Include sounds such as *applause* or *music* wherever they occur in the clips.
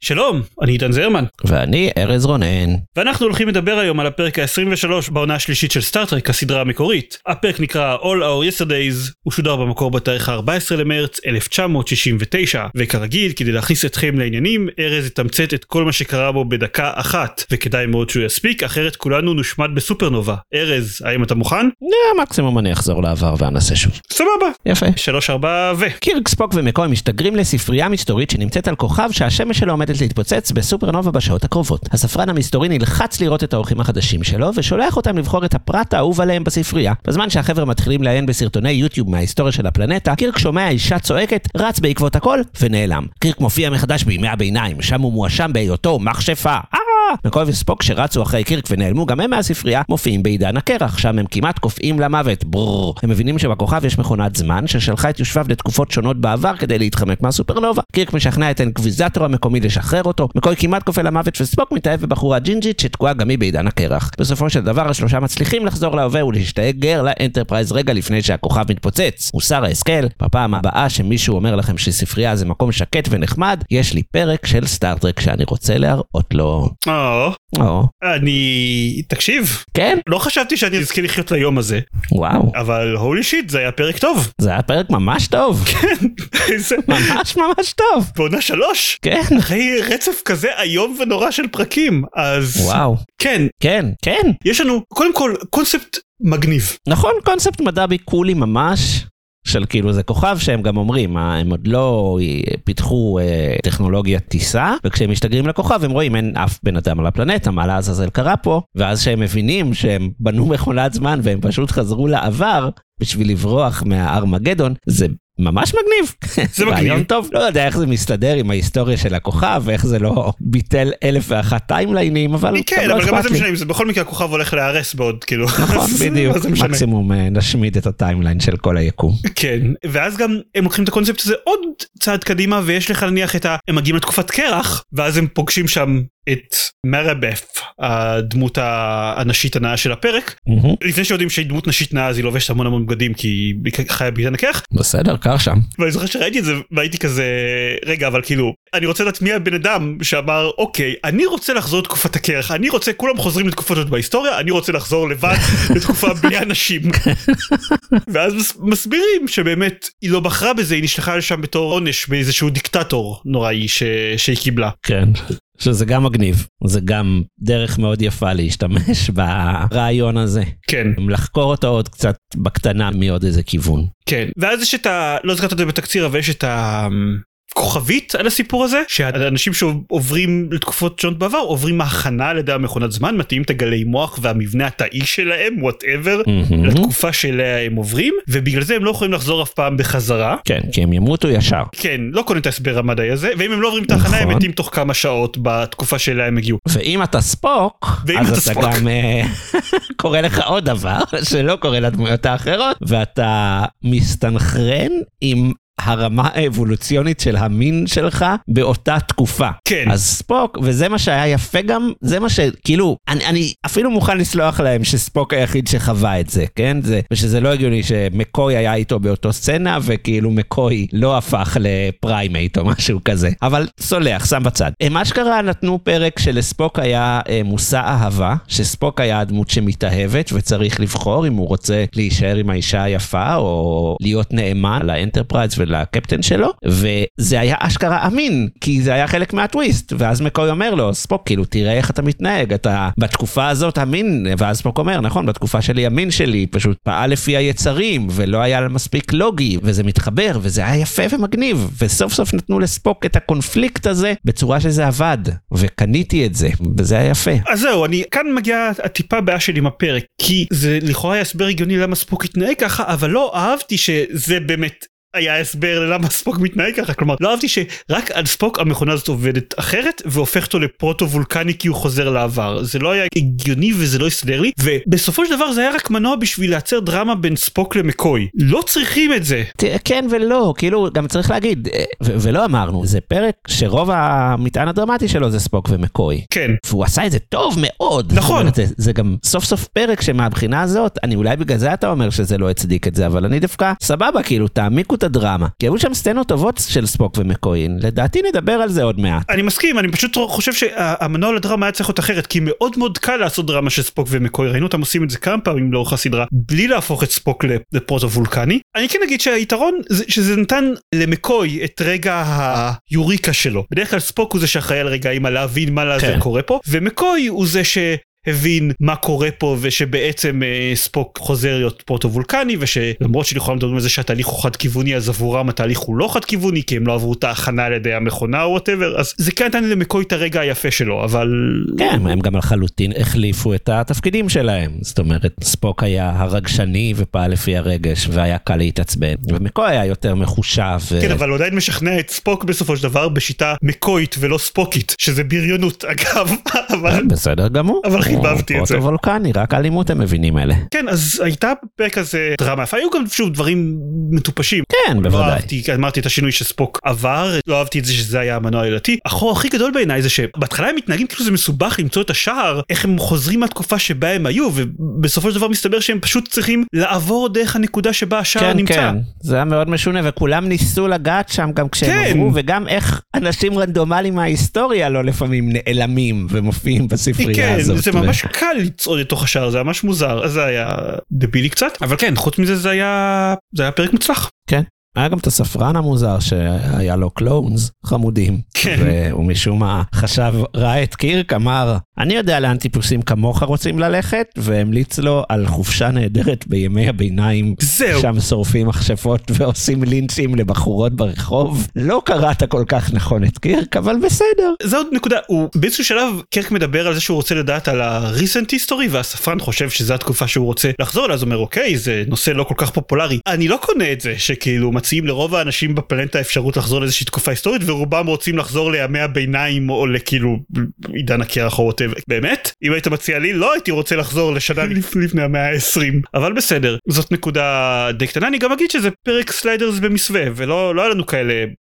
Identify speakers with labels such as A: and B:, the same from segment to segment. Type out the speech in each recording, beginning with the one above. A: שלום, אני עידן זרמן,
B: ואני ארז רונן.
A: ואנחנו הולכים לדבר היום על הפרק ה-23 בעונה השלישית של סטארטרק, הסדרה המקורית. הפרק נקרא All Our Yesterdays, הוא שודר במקור בתאריך ה-14 למרץ 1969, וכרגיל, כדי להכניס אתכם לעניינים, ארז יתמצת את כל מה שקרה בו בדקה אחת, וכדאי מאוד שהוא יספיק, אחרת כולנו נושמד בסופרנובה. ארז, האם אתה מוכן?
B: נה, מקסימום אני אחזור לעבר ואנסה שוב.
A: סבבה.
B: יפה.
A: שלוש ארבע ו...
B: קירק, ספוק ומקוי משתגרים לספרייה מסתורית שנמצאת על כוכב שהשמש שלו עומדת להתפוצץ בסופרנובה בשעות הקרובות. הספרן המסתורי נלחץ לראות את האורחים החדשים שלו, ושולח אותם לבחור את הפרט האהוב עליהם בספרייה. בזמן שהחבר'ה מתחילים לעיין בסרטוני יוטיוב מההיסטוריה של הפלנטה, קירק שומע אישה צועקת, רץ בעקבות הכל, ונעלם. קירק מופיע מחדש בימי הביניים, שם הוא מואשם בהיותו מכשפה. אה! מקוי וספוק שרצו אחרי קירק ונעלמו גם הם מהספרייה, מופיעים בעידן הקרח, שם הם כמעט קופאים למוות, ברור. הם מבינים שבכוכב יש מכונת זמן, ששלחה את יושביו לתקופות שונות בעבר כדי להתחמק מהסופרנובה. קירק משכנע את האינקוויזטור המקומי לשחרר אותו, מקוי כמעט קופא למוות וספוק מתאהב בבחורה ג'ינג'ית שתקועה גם היא בעידן הקרח. בסופו של דבר השלושה מצליחים לחזור להווה ולהשתגר לאנטרפרייז רגע לפני שהכוכב מתפוצץ. מוסר ההשכל, בפעם הבאה שמישהו אומר לכם שספרייה זה מקום שקט ונחמד, יש לי פרק של סטארטרק שאני רוצה להראות לו.
A: או,
B: או,
A: אני... תקשיב,
B: כן?
A: לא חשבתי שאני אזכה לחיות ליום הזה,
B: וואו.
A: אבל הולי שיט, זה היה פרק טוב. *laughs*
B: זה היה פרק ממש טוב.
A: איזה...
B: ממש ממש טוב.
A: בעונה שלוש.
B: כן.
A: אחרי רצף כזה איום ונורא של פרקים אז
B: וואו.
A: כן
B: כן, כן.
A: יש לנו קודם כל קונספט מגניב
B: נכון, קונספט מדבי קולי ממש. של כאילו זה כוכב שהם גם אומרים, אה, הם עוד לא אה, פיתחו אה, טכנולוגיית טיסה, וכשהם משתגרים לכוכב הם רואים אין אף בן אדם על הפלנטה, מה לעזאזל קרה פה, ואז שהם מבינים שהם בנו *laughs* מכונת זמן והם פשוט חזרו לעבר בשביל לברוח מהארמגדון, זה ממש מגניב.
A: *laughs* זה מגניב.
B: רעיון טוב, לא יודע איך זה מסתדר עם ההיסטוריה של הכוכב, ואיך זה לא ביטל אלף ואחת טיימליינים, אבל
A: כן
B: לא
A: אבל גם מה
B: אכפת
A: זה
B: לי.
A: משנה אם זה בכל מקרה הכוכב הולך להיהרס בעוד כאילו
B: נכון,
A: אז
B: בדיוק,
A: מה זה משנה?
B: מקסימום אה, נשמיד את הטיימליין של כל היקום.
A: כן ואז גם הם לוקחים את הקונספט הזה עוד צעד קדימה ויש לך נניח את ה... הם מגיעים לתקופת קרח ואז הם פוגשים שם את מרבף הדמות הנשית הנאה של הפרק
B: מהמם.
A: לפני שיודעים שהיא דמות נשית נאה אז היא לובשת המון המון בגדים כי היא חיה בעידן הקרח
B: בסדר, קר שם.
A: ואני זוכר שראיתי את זה והייתי כזה רגע אבל כאילו אני רוצה לדעת מי הבן אדם שאמר אוקיי אני רוצה לחזור לתקופת הקרח אני רוצה כולם חוזרים לתקופות עוד בהיסטוריה אני רוצה לחזור לבד לתקופה בלי אנשים ואז מס- מסבירים שבאמת היא לא בחרה בזה היא נשלחה לשם בתור עונש מאיזשהו דיקטטור נוראי ש... שהיא קיבלה
B: כן. שזה גם מגניב, זה גם דרך מאוד יפה להשתמש *laughs* ברעיון הזה.
A: כן
B: לחקור אותו עוד קצת בקטנה מעוד איזה כיוון.
A: כן ואז יש את ה... לא זכרת את זה בתקציר אבל יש את ה... כוכבית על הסיפור הזה שאנשים שעוברים לתקופות שונות בעבר עוברים הכנה על ידי המכונת זמן מתאים את הגלי מוח והמבנה התאי שלהם וואטאבר
B: מהמם.
A: לתקופה שאליה הם עוברים ובגלל זה הם לא יכולים לחזור אף פעם בחזרה.
B: כן, כי הם ימותו ישר.
A: כן לא קונה את ההסבר המדעי הזה ואם הם לא עוברים את ההכנה הם
B: נכון.
A: מתים תוך כמה שעות בתקופה שאליה הם הגיעו.
B: ואם אתה ספוק,
A: ואם אתה
B: אז אתה
A: ספוק.
B: גם אה, *laughs* קורה לך עוד דבר *laughs* שלא קורה לדמויות האחרות, ואתה מסתנכרן עם הרמה האבולוציונית של המין שלך באותה תקופה.
A: כן.
B: אז ספוק, וזה מה שהיה יפה גם, זה מה שכאילו, אני, אני אפילו מוכן לסלוח להם שספוק היחיד שחווה את זה, כן? זה, ושזה לא הגיוני שמקוי היה איתו באותו סצנה, וכאילו מקוי לא הפך לפריימייט או משהו כזה. אבל סולח, שם בצד. הם אשכרה נתנו פרק שלספוק היה אה, מושא אהבה, שספוק היה הדמות שמתאהבת וצריך לבחור אם הוא רוצה להישאר עם האישה היפה או להיות נאמן לאנטרפרייז ולקפטן שלו, וזה היה אשכרה אמין, כי זה היה חלק מהטוויסט, ואז מקוי אומר לו, ספוק, כאילו, תראה איך אתה מתנהג, אתה בתקופה הזאת אמין, ואז ספוק אומר, נכון, בתקופה שלי המין שלי פשוט פעל לפי היצרים, ולא היה לה מספיק לוגי, וזה מתחבר, וזה היה יפה ומגניב, וסוף סוף נתנו לספוק את הקונפליקט הזה בצורה שזה עבד, וקניתי את זה, וזה היה יפה.
A: אז זהו, אני כאן מגיעה הטיפה בעיה שלי עם הפרק, כי זה לכאורה היה הסבר הגיוני למה ספוק התנהג ככה, אבל לא אהבתי שזה באמת היה הסבר ללמה ספוק מתנהג ככה, כלומר, לא אהבתי שרק על ספוק המכונה הזאת עובדת אחרת, והופך אותו לפרוטו-וולקני כי הוא חוזר לעבר. זה לא היה הגיוני וזה לא הסתדר לי, ובסופו של דבר זה היה רק מנוע בשביל לייצר דרמה בין ספוק למקוי. לא צריכים את זה.
B: ת- כן ולא, כאילו, גם צריך להגיד, אה, ו- ולא אמרנו, זה פרק שרוב המטען הדרמטי שלו זה ספוק ומקוי.
A: כן.
B: והוא עשה את זה טוב מאוד.
A: נכון.
B: זאת אומרת, זה, זה גם סוף סוף פרק שמהבחינה הזאת, אני אולי בגלל זה אתה אומר שזה לא הצדיק את זה, אבל אני דווקא, סבבה, כאילו, תעמיקו את הדרמה. כי היו שם סצנות טובות של ספוק ומקוין, לדעתי נדבר על זה עוד מעט.
A: אני מסכים, אני פשוט חושב שהמנוע לדרמה היה צריך להיות אחרת, כי מאוד מאוד קל לעשות דרמה של ספוק ומקוי, ראינו אותם עושים את זה כמה פעמים לאורך הסדרה, בלי להפוך את ספוק לפרוטו-וולקני. אני כן אגיד שהיתרון זה שזה נתן למקוי את רגע
B: אה.
A: היוריקה שלו. בדרך כלל ספוק הוא זה שאחראי על רגעים על להבין מה לזה
B: כן.
A: קורה פה, ומקוי הוא זה ש... הבין מה קורה פה ושבעצם אה, ספוק חוזר להיות פרוטו-וולקני ושלמרות שלכאורה מדברים על זה שהתהליך הוא חד כיווני אז עבורם התהליך הוא לא חד כיווני כי הם לא עברו את ההכנה על ידי המכונה או וואטאבר אז זה כן נתן למקוי את הרגע היפה שלו אבל
B: כן, הם גם לחלוטין החליפו את התפקידים שלהם. זאת אומרת, ספוק היה הרגשני ופעל לפי הרגש, והיה קל להתעצבן. ומקוי היה יותר מחושב. אה, ו-
A: כן אבל הוא עדיין משכנע את ספוק בסופו של דבר בשיטה מקוית ולא ספוקית שזה בריונות *laughs* אגב אבל
B: כן, בסדר גמור.
A: אבל חיבבתי
B: הוא
A: את זה.
B: פרוטו-וולקני, רק אלימות אוקיי, הם מבינים אלה.
A: כן אז הייתה בפרק הזה דרמה יפה היו גם שוב דברים מטופשים
B: כן,
A: לא
B: בוודאי.
A: אהבתי, אמרתי את השינוי שספוק עבר, לא אהבתי את זה שזה היה המנוע העלילתי. החור הכי גדול בעיניי זה שבהתחלה הם מתנהגים כאילו זה מסובך למצוא את השער, איך הם חוזרים מהתקופה שבה הם היו, ובסופו של דבר מסתבר שהם פשוט צריכים לעבור דרך הנקודה שבה השער
B: כן,
A: נמצא.
B: כן, זה היה מאוד משונה, וכולם ניסו לגעת שם גם כשהם
A: כן.
B: עברו, וגם איך אנשים רנדומליים מההיסטוריה לא לפעמים נעלמים ומופיעים בספרייה
A: כן,
B: הזאת.
A: זה ממש קל לצעוד לתוך השער, זה ממש מוזר, אז זה היה דבילי קצת, אבל כן, חוץ מזה זה היה, זה היה פרק מוצלח.
B: היה גם את הספרן המוזר שהיה לו קלונס חמודים.
A: כן.
B: והוא משום מה חשב, ראה את קירק, אמר, אני יודע לאן טיפוסים כמוך רוצים ללכת, והמליץ לו על חופשה נהדרת בימי הביניים.
A: זהו.
B: שם שורפים מכשפות ועושים לינצ'ים לבחורות ברחוב. לא קראת כל כך נכון את קירק, אבל בסדר.
A: זה עוד נקודה, הוא באיזשהו שלב קרק מדבר על זה שהוא רוצה לדעת על ה-recent history והספרן חושב שזו התקופה שהוא רוצה לחזור אליה, אז הוא אומר אוקיי זה נושא לא כל כך פופולרי. אני לא קונה את זה שכאילו מציעים לרוב האנשים בפלנטה אפשרות לחזור לאיזושהי תקופה היסטורית ורובם רוצים לחזור לימי הביניים או לכאילו עידן הקרח או ווטאב. באמת? אם היית מציע לי לא הייתי רוצה לחזור לשנה לפ- לפני המאה ה-20 אבל בסדר זאת נקודה די קטנה אני גם אגיד שזה פרק סליידרס במסווה ולא לא היה לנו כאלה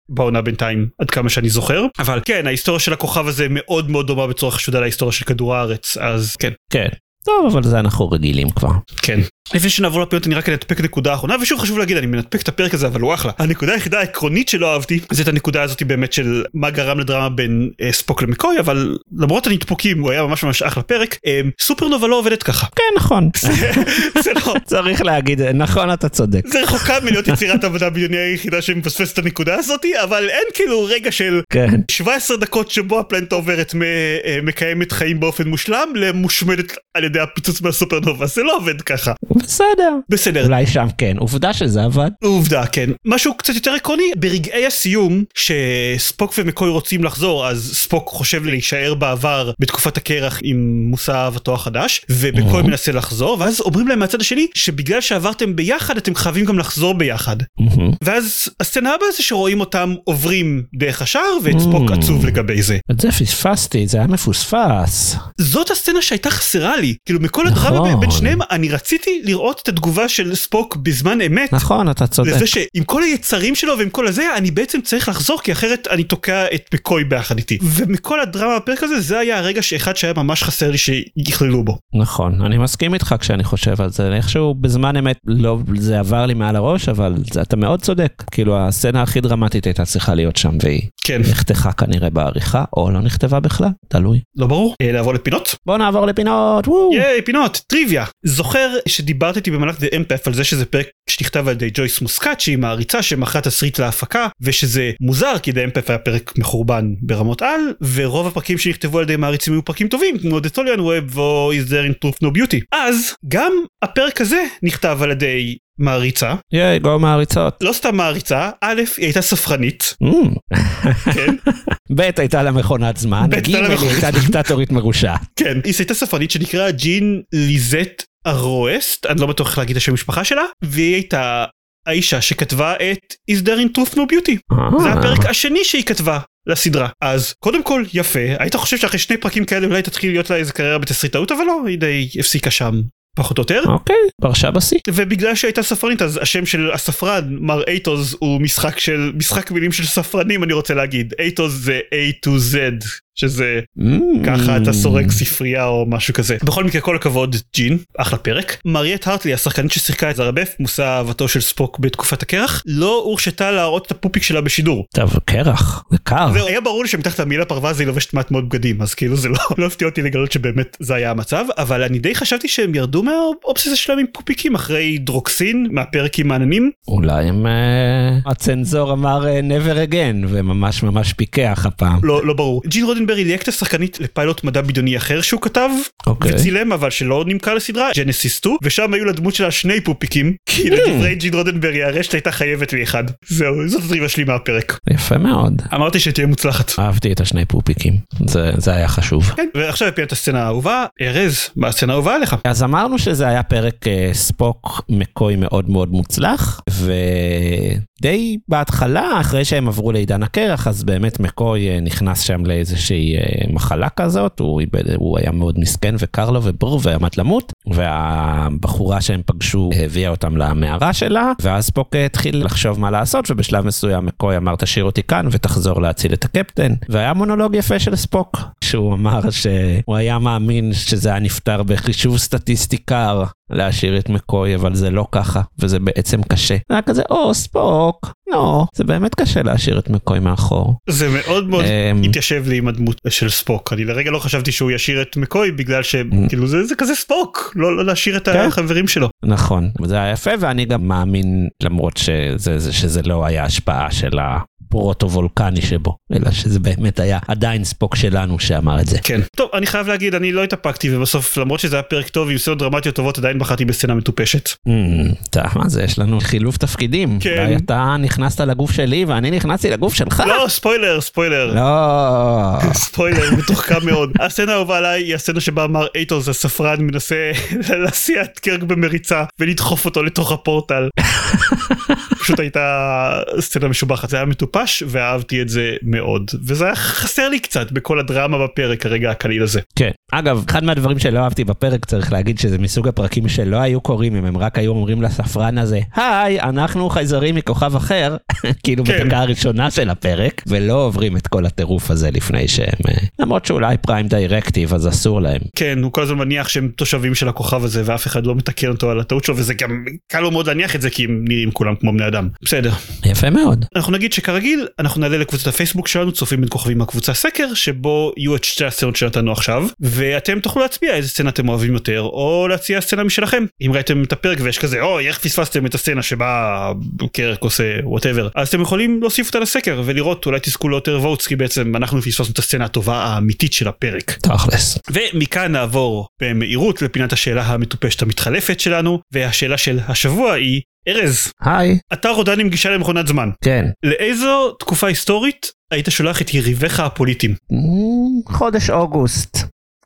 A: בעונה בינתיים עד כמה שאני זוכר אבל כן ההיסטוריה של הכוכב הזה מאוד מאוד דומה בצורה חשודה להיסטוריה של כדור הארץ אז כן
B: כן. טוב, אבל זה אנחנו רגילים כבר.
A: כן לפני שנעבור לפינות אני רק אנתפק נקודה אחרונה ושוב חשוב להגיד אני מנתפק את הפרק הזה אבל הוא אחלה הנקודה היחידה העקרונית שלא אהבתי זה את הנקודה הזאת באמת של מה גרם לדרמה בין אה, ספוק למקוי אבל למרות הנתפוקים הוא היה ממש ממש אחלה פרק אה, סופרנובה לא עובדת ככה
B: כן, נכון.
A: *laughs* זה לא.
B: צריך להגיד, נכון, אתה צודק.
A: זה רחוקה מלהיות יצירת עבודה בדיוני היחידה שמפספסת את הנקודה הזאתי אבל אין כאילו רגע של
B: כן.
A: 17 דקות שבו הפלנטה עוברת מ- אה, מקיימת חיים באופן מושלם למושמדת על ידי הפיצוץ מהסופרנובה זה לא עובד ככה
B: בסדר.
A: בסדר
B: אולי שם כן, עובדה שזה עבד.
A: עובדה כן משהו קצת יותר עקרוני ברגעי הסיום שספוק ומקוי רוצים לחזור אז ספוק חושב להישאר בעבר בתקופת הקרח עם מושא אהבתו החדש ומקוי מנסה לחזור ואז אומרים להם מהצד השני שבגלל שעברתם ביחד אתם חייבים גם לחזור ביחד ואז הסצנה הבאה זה שרואים אותם עוברים דרך השער ואת ספוק
B: Mm.
A: עצוב לגבי זה
B: את זה פספסתי, זה היה מפוספס.
A: זאת הסצנה שהייתה חסרה לי כאילו מכל
B: נכון.
A: הדרמה ב- בין שניהם אני רציתי לראות את התגובה של ספוק בזמן אמת.
B: נכון, אתה צודק.
A: לזה שעם כל היצרים שלו ועם כל הזה אני בעצם צריך לחזור כי אחרת אני תוקע את מקוי ביחד איתי ומכל הדרמה בפרק הזה זה היה הרגע שאחד שהיה ממש חסר לי שיכללו בו.
B: נכון, אני מסכים איתך כשאני חושב על זה. איכשהו בזמן אמת לא, זה עבר לי מעל הראש, אבל זה, אתה מאוד צודק. כאילו, הסצנה הכי דרמטית הייתה צריכה להיות שם, והיא
A: כן
B: נחתכה כנראה בעריכה, או לא נכתבה בכלל, תלוי.
A: לא ברור אה, לעבור לפינות
B: בואו נעבור לפינות, וואו!
A: ייי פינות טריוויה זוכר שדיברת איתי במהלך The Empath על זה שזה פרק שנכתב על ידי ג'ויס מוסקת שהיא מעריצה שמכרה תסריט להפקה ושזה מוזר כי The Empath היה פרק מחורבן ברמות על ורוב הפרקים שנכתבו על ידי מעריצים היו פרקים טובים כמו The Tolian Web או Is There in Truth No Beauty אז גם הפרק הזה נכתב על ידי מעריצה
B: ייי, גו מעריצות.
A: לא סתם מעריצה א' היא הייתה ספרנית
B: Mm.
A: כן
B: ב' הייתה לה מכונת זמן,
A: ב',
B: ג'
A: הייתה לה
B: היא
A: מכונת
B: הייתה דיקטטורית מרושעת.
A: כן, היא הייתה ספרנית שנקראה ג'ין ליזט ארואסט, אני לא בטוח איך להגיד את השם משפחה שלה, והיא הייתה האישה שכתבה את Is there in truth no beauty.
B: אה.
A: זה הפרק השני שהיא כתבה לסדרה. אז קודם כל, יפה, היית חושב שאחרי שני פרקים כאלה אולי תתחיל להיות לה איזה קריירה בתסריטאות, אבל לא, היא די הפסיקה שם, פחות או יותר.
B: אוקיי, פרשה בשיא.
A: ובגלל שהייתה ספרנית אז השם של הספרן מר אייטוז הוא משחק של משחק מילים של ספרנים אני רוצה להגיד אייטוז זה A to Z שזה
B: Mm.
A: ככה אתה סורק ספרייה או משהו כזה. בכל מקרה כל הכבוד ג'ין אחלה פרק. מריאט הרטלי השחקנית ששיחקה את זרבף מושא אהבתו של ספוק בתקופת הקרח לא הורשתה להראות את הפופיק שלה בשידור.
B: טוב, קרח, זה קר.
A: זהו היה ברור לי שמתחת למילה פרווה זה היא לובשת מעט מאוד בגדים אז כאילו זה לא, לא הפתיע אותי לגלות שבאמת זה היה המצב אבל אני די חשבתי שהם ירדו מהאובססיה שלהם עם פופיקים אחרי דרוקסין מהפרק עם העננים
B: אולי הם... אה, הצנזור אמר אה, never again, וממש ממש פיקח הפעם.
A: לא, לא ברור. ג'ין רודנברי ליהק את השחקנית לפיילוט מדע בדיוני אחר שהוא כתב,
B: אוקיי.
A: וצילם אבל שלא נמכר לסדרה, ג'נסיס 2, ושם היו לדמות שלה שני פופיקים,
B: Hmm.
A: כי לדברי ג'ין רודנברי הרשת הייתה חייבת לי אחד. זהו, זאת הטריבה שלי מהפרק.
B: יפה מאוד.
A: אמרתי שתהיה מוצלחת.
B: אהבתי את השני פופיקים, זה, זה היה חשוב.
A: כן, ועכשיו הפינת הסצנה האהובה, ארז, מה הסצנה האהובה עליך?
B: אז אמרנו שזה היה פרק אה, ספוק מקוי מאוד מאוד מוצלח, ודי בהתחלה, אחרי שהם עברו לעידן הקרח, אז באמת מקוי אה, נכנס שם לאיזושהי אה, מחלה כזאת, הוא, איבד, הוא היה מאוד מסכן וקר לו וברור ועמד למות, והבחורה שהם פגשו הביאה אותם למערה שלה, ואז ספוק אה, התחיל לחשוב מה לעשות, ובשלב מסוים מקוי אמר תשאיר אותי כאן ותחזור להציל את הקפטן, והיה מונולוג יפה של ספוק, שהוא אמר שהוא היה מאמין שזה היה נפתר בחישוב סטטיסטי קר להשאיר את מקוי, אבל זה לא ככה, וזה בעצם קשה. זה היה כזה, או, ספוק, לא, זה באמת קשה להשאיר את מקוי מאחור.
A: זה מאוד מאוד
B: אמ.
A: התיישב לי עם הדמות של ספוק. אני לרגע לא חשבתי שהוא ישאיר את מקוי בגלל שכאילו זה זה כזה ספוק, לא לא להשאיר את
B: Mm. כן.
A: החברים שלו.
B: נכון, זה היה יפה, ואני גם מאמין, למרות שזה, זה- שזה לא היה השפעה של הפרוטו-וולקני שבו, אלא שזה באמת היה עדיין ספוק שלנו שאמר את זה.
A: כן. טוב, אני חייב להגיד, אני לא התאפקתי, ובסוף, למרות שזה היה פרק טוב עם סצנות דרמטיות טובות, עדיין בחרתי בסצנה מטופשת.
B: אמ, אתה, מה זה, יש לנו חילוף תפקידים.
A: כן.
B: אולי אתה נכנסת לגוף שלי ואני נכנסתי לגוף שלך.
A: לא, ספוילר, ספוילר.
B: לא.
A: ספוילר מתוחכם מאוד. הסצנה האהובה עליי היא הסצנה שבה מר אייטוס הספרן מנסה *laughs* להסיע את קרק במריצה ולדחוף אותו לתוך הפורטל. פשוט הייתה סצנה משובחת, זה היה מטופש ואהבתי את זה מאוד. וזה היה חסר לי קצת בכל הדרמה בפרק הרגע הקליל הזה.
B: כן. אגב, אחד מהדברים שלא אהבתי בפרק, צריך להגיד שזה מסוג הפרקים שלא היו קורים אם הם רק היו אומרים לספרן הזה, היי, אנחנו חייזרים מכוכב אחר, *laughs* כאילו
A: כן.
B: בדקה הראשונה של הפרק, ולא עוברים את כל הטירוף הזה לפני שהם... אה, למרות שאולי פריים דיירקטיב, אז אסור להם.
A: כן, הוא כל הזמן מניח שהם תושבים של הכוכב הזה ואף אחד לא מתקן אותו על הטעות שלו וזה גם קל לו מאוד להניח את זה כי הם נראים כולם כמו בני אדם. בסדר.
B: יפה מאוד.
A: אנחנו נגיד שכרגיל אנחנו נעלה לקבוצת הפייסבוק שלנו צופים בין כוכבים מהקבוצה סקר שבו יהיו את שתי הסצנות שנתנו עכשיו ואתם תוכלו להצביע איזה סצנה אתם אוהבים יותר או להציע סצנה משלכם אם ראיתם את הפרק ויש כזה אוי איך פספסתם את הסצנה שבה קרק עושה וואטאבר אז אתם יכולים להוסיף אותה לסקר ולראות אולי תזכו ליותר votes כי בעצם אנחנו פספסנו את הסצנה הטובה האמיתית של הפרק.
B: תכלס.
A: ומכאן נעבור במהירות לפינת השאלה המטופשת המתחלפת שלנו והשאלה של השבוע היא ארז
B: היי.
A: אתה רודן עם גישה למכונת זמן.
B: כן.
A: לאיזו תקופה היסטורית היית שולח את יריביך הפוליטיים?
B: Mm, חודש אוגוסט.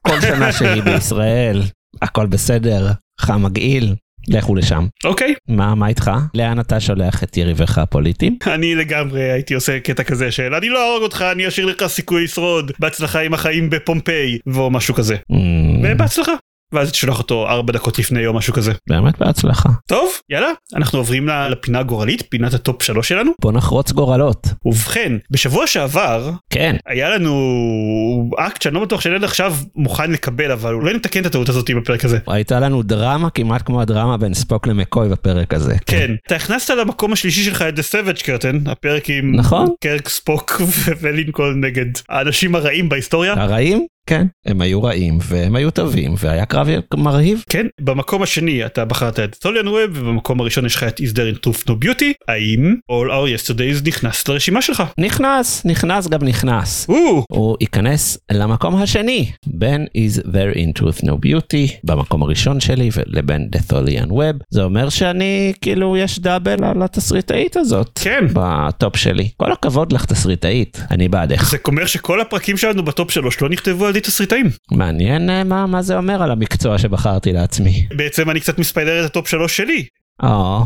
B: כל שנה שהיא בישראל, הכל בסדר, חם מגעיל, לכו לשם.
A: אוקיי.
B: מה, מה איתך? לאן אתה שולח את יריביך הפוליטיים?
A: אני לגמרי הייתי עושה קטע כזה של אני לא אהרוג אותך, אני אשאיר לך סיכוי לשרוד, בהצלחה עם החיים בפומפיי, או משהו כזה.
B: Mm,
A: ובהצלחה. ואז תשלח אותו ארבע דקות לפני או משהו כזה.
B: באמת בהצלחה.
A: טוב, יאללה, אנחנו עוברים ל- לפינה הגורלית, פינת הטופ שלוש שלנו.
B: בוא נחרוץ גורלות.
A: ובכן, בשבוע שעבר
B: כן.
A: היה לנו אקט שאני לא בטוח שאני עד עכשיו מוכן לקבל, אבל אולי נתקן את הטעות הזאת בפרק הזה.
B: הייתה לנו דרמה כמעט כמו הדרמה בין ספוק למקוי בפרק הזה.
A: כן, אתה הכנסת למקום השלישי שלך את The Savage Curtain, הפרק עם
B: נכון.
A: קרק ספוק *laughs* ו- ולינקולן נגד האנשים הרעים בהיסטוריה.
B: הרעים? כן. הם היו רעים והם היו טובים והיה קרב מרהיב.
A: כן, במקום השני אתה בחרת את טוליאן ווב, ובמקום הראשון יש לך את Is there in truth no beauty, האם All our yesterdays נכנס לרשימה שלך?
B: נכנס, נכנס גם נכנס.
A: או,
B: הוא ייכנס למקום השני בין is there in truth no beauty במקום הראשון שלי לבין דת'וליאן ווב זה אומר שאני כאילו יש דאבל על התסריטאית הזאת
A: כן.
B: בטופ שלי כל הכבוד לך תסריטאית אני בעדך
A: זה אומר שכל הפרקים שלנו בטופ שלוש לא נכתבו על ידי תסריטאים.
B: מעניין אה, מה, מה זה אומר על המקצוע שבחרתי לעצמי
A: בעצם אני קצת מספיילר את הטופ שלוש שלי.
B: או, *laughs*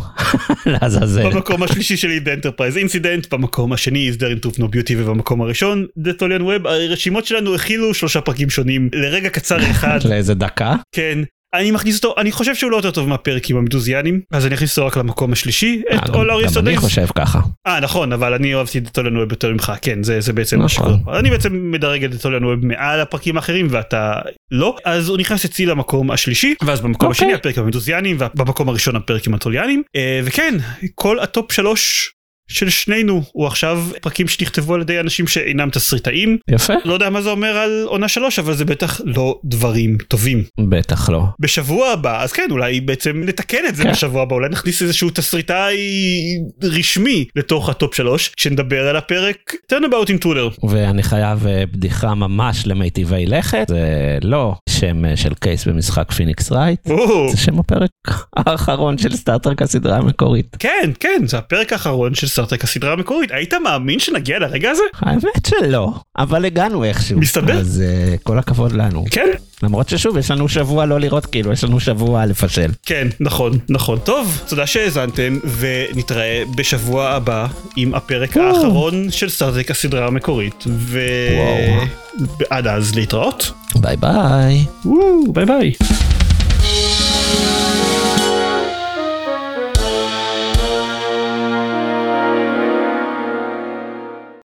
B: לעזאזל.
A: במקום השלישי שלי The Enterprise Incident, במקום השני Is There Improve No Beauty ובמקום הראשון The Tolian Web. הרשימות שלנו הכילו שלושה פרקים שונים לרגע קצר
B: *laughs*
A: אחד,
B: לאיזה דקה.
A: כן. אני מכניס אותו, אני חושב שהוא לא יותר טוב מהפרק עם המדוזיאנים, אז אני אכניס אותו רק למקום השלישי,
B: אה,
A: את
B: גם-
A: All Our
B: גם אני
A: Yesterdays.
B: חושב ככה.
A: אה נכון, אבל אני אוהבתי את The Tolian Web יותר ממך, כן, זה, זה בעצם מה
B: נכון.
A: שקורה. אני בעצם מדרג את The Tolian Web מעל הפרקים האחרים ואתה לא, אז הוא נכנס אצלי למקום השלישי, ואז במקום
B: אוקיי.
A: השני הפרק עם המדוזיאנים, ובמקום הראשון הפרק עם הטוליאנים, אה, וכן, כל הטופ שלוש. של שנינו הוא עכשיו פרקים שנכתבו על ידי אנשים שאינם תסריטאים
B: יפה.
A: לא יודע מה זה אומר על עונה שלוש אבל זה בטח לא דברים טובים
B: בטח לא.
A: בשבוע הבא אז כן אולי בעצם נתקן את זה
B: כן.
A: בשבוע הבא אולי נכניס איזשהו תסריטאי רשמי לתוך הטופ שלוש כשנדבר על הפרק turnabout עם טרולר
B: *laughs* ואני חייב אה, בדיחה ממש למיטיבי לכת, זה לא שם אה, של קייס במשחק פיניקס רייט,
A: או,
B: זה שם הפרק האחרון של סטארטרק הסדרה המקורית.
A: כן כן זה הפרק האחרון של סרטק הסדרה המקורית היית מאמין שנגיע לרגע הזה
B: האמת שלא, אבל הגענו איכשהו.
A: מסתבר.
B: אז אה, כל הכבוד לנו.
A: כן
B: למרות ששוב, יש לנו שבוע לא לראות כאילו, יש לנו שבוע לפשל.
A: כן נכון נכון טוב תודה שהאזנתם ונתראה בשבוע הבא עם הפרק
B: וואו.
A: האחרון של סרטק הסדרה המקורית ועד אז להתראות
B: ביי ביי.
A: וואו, ביי ביי.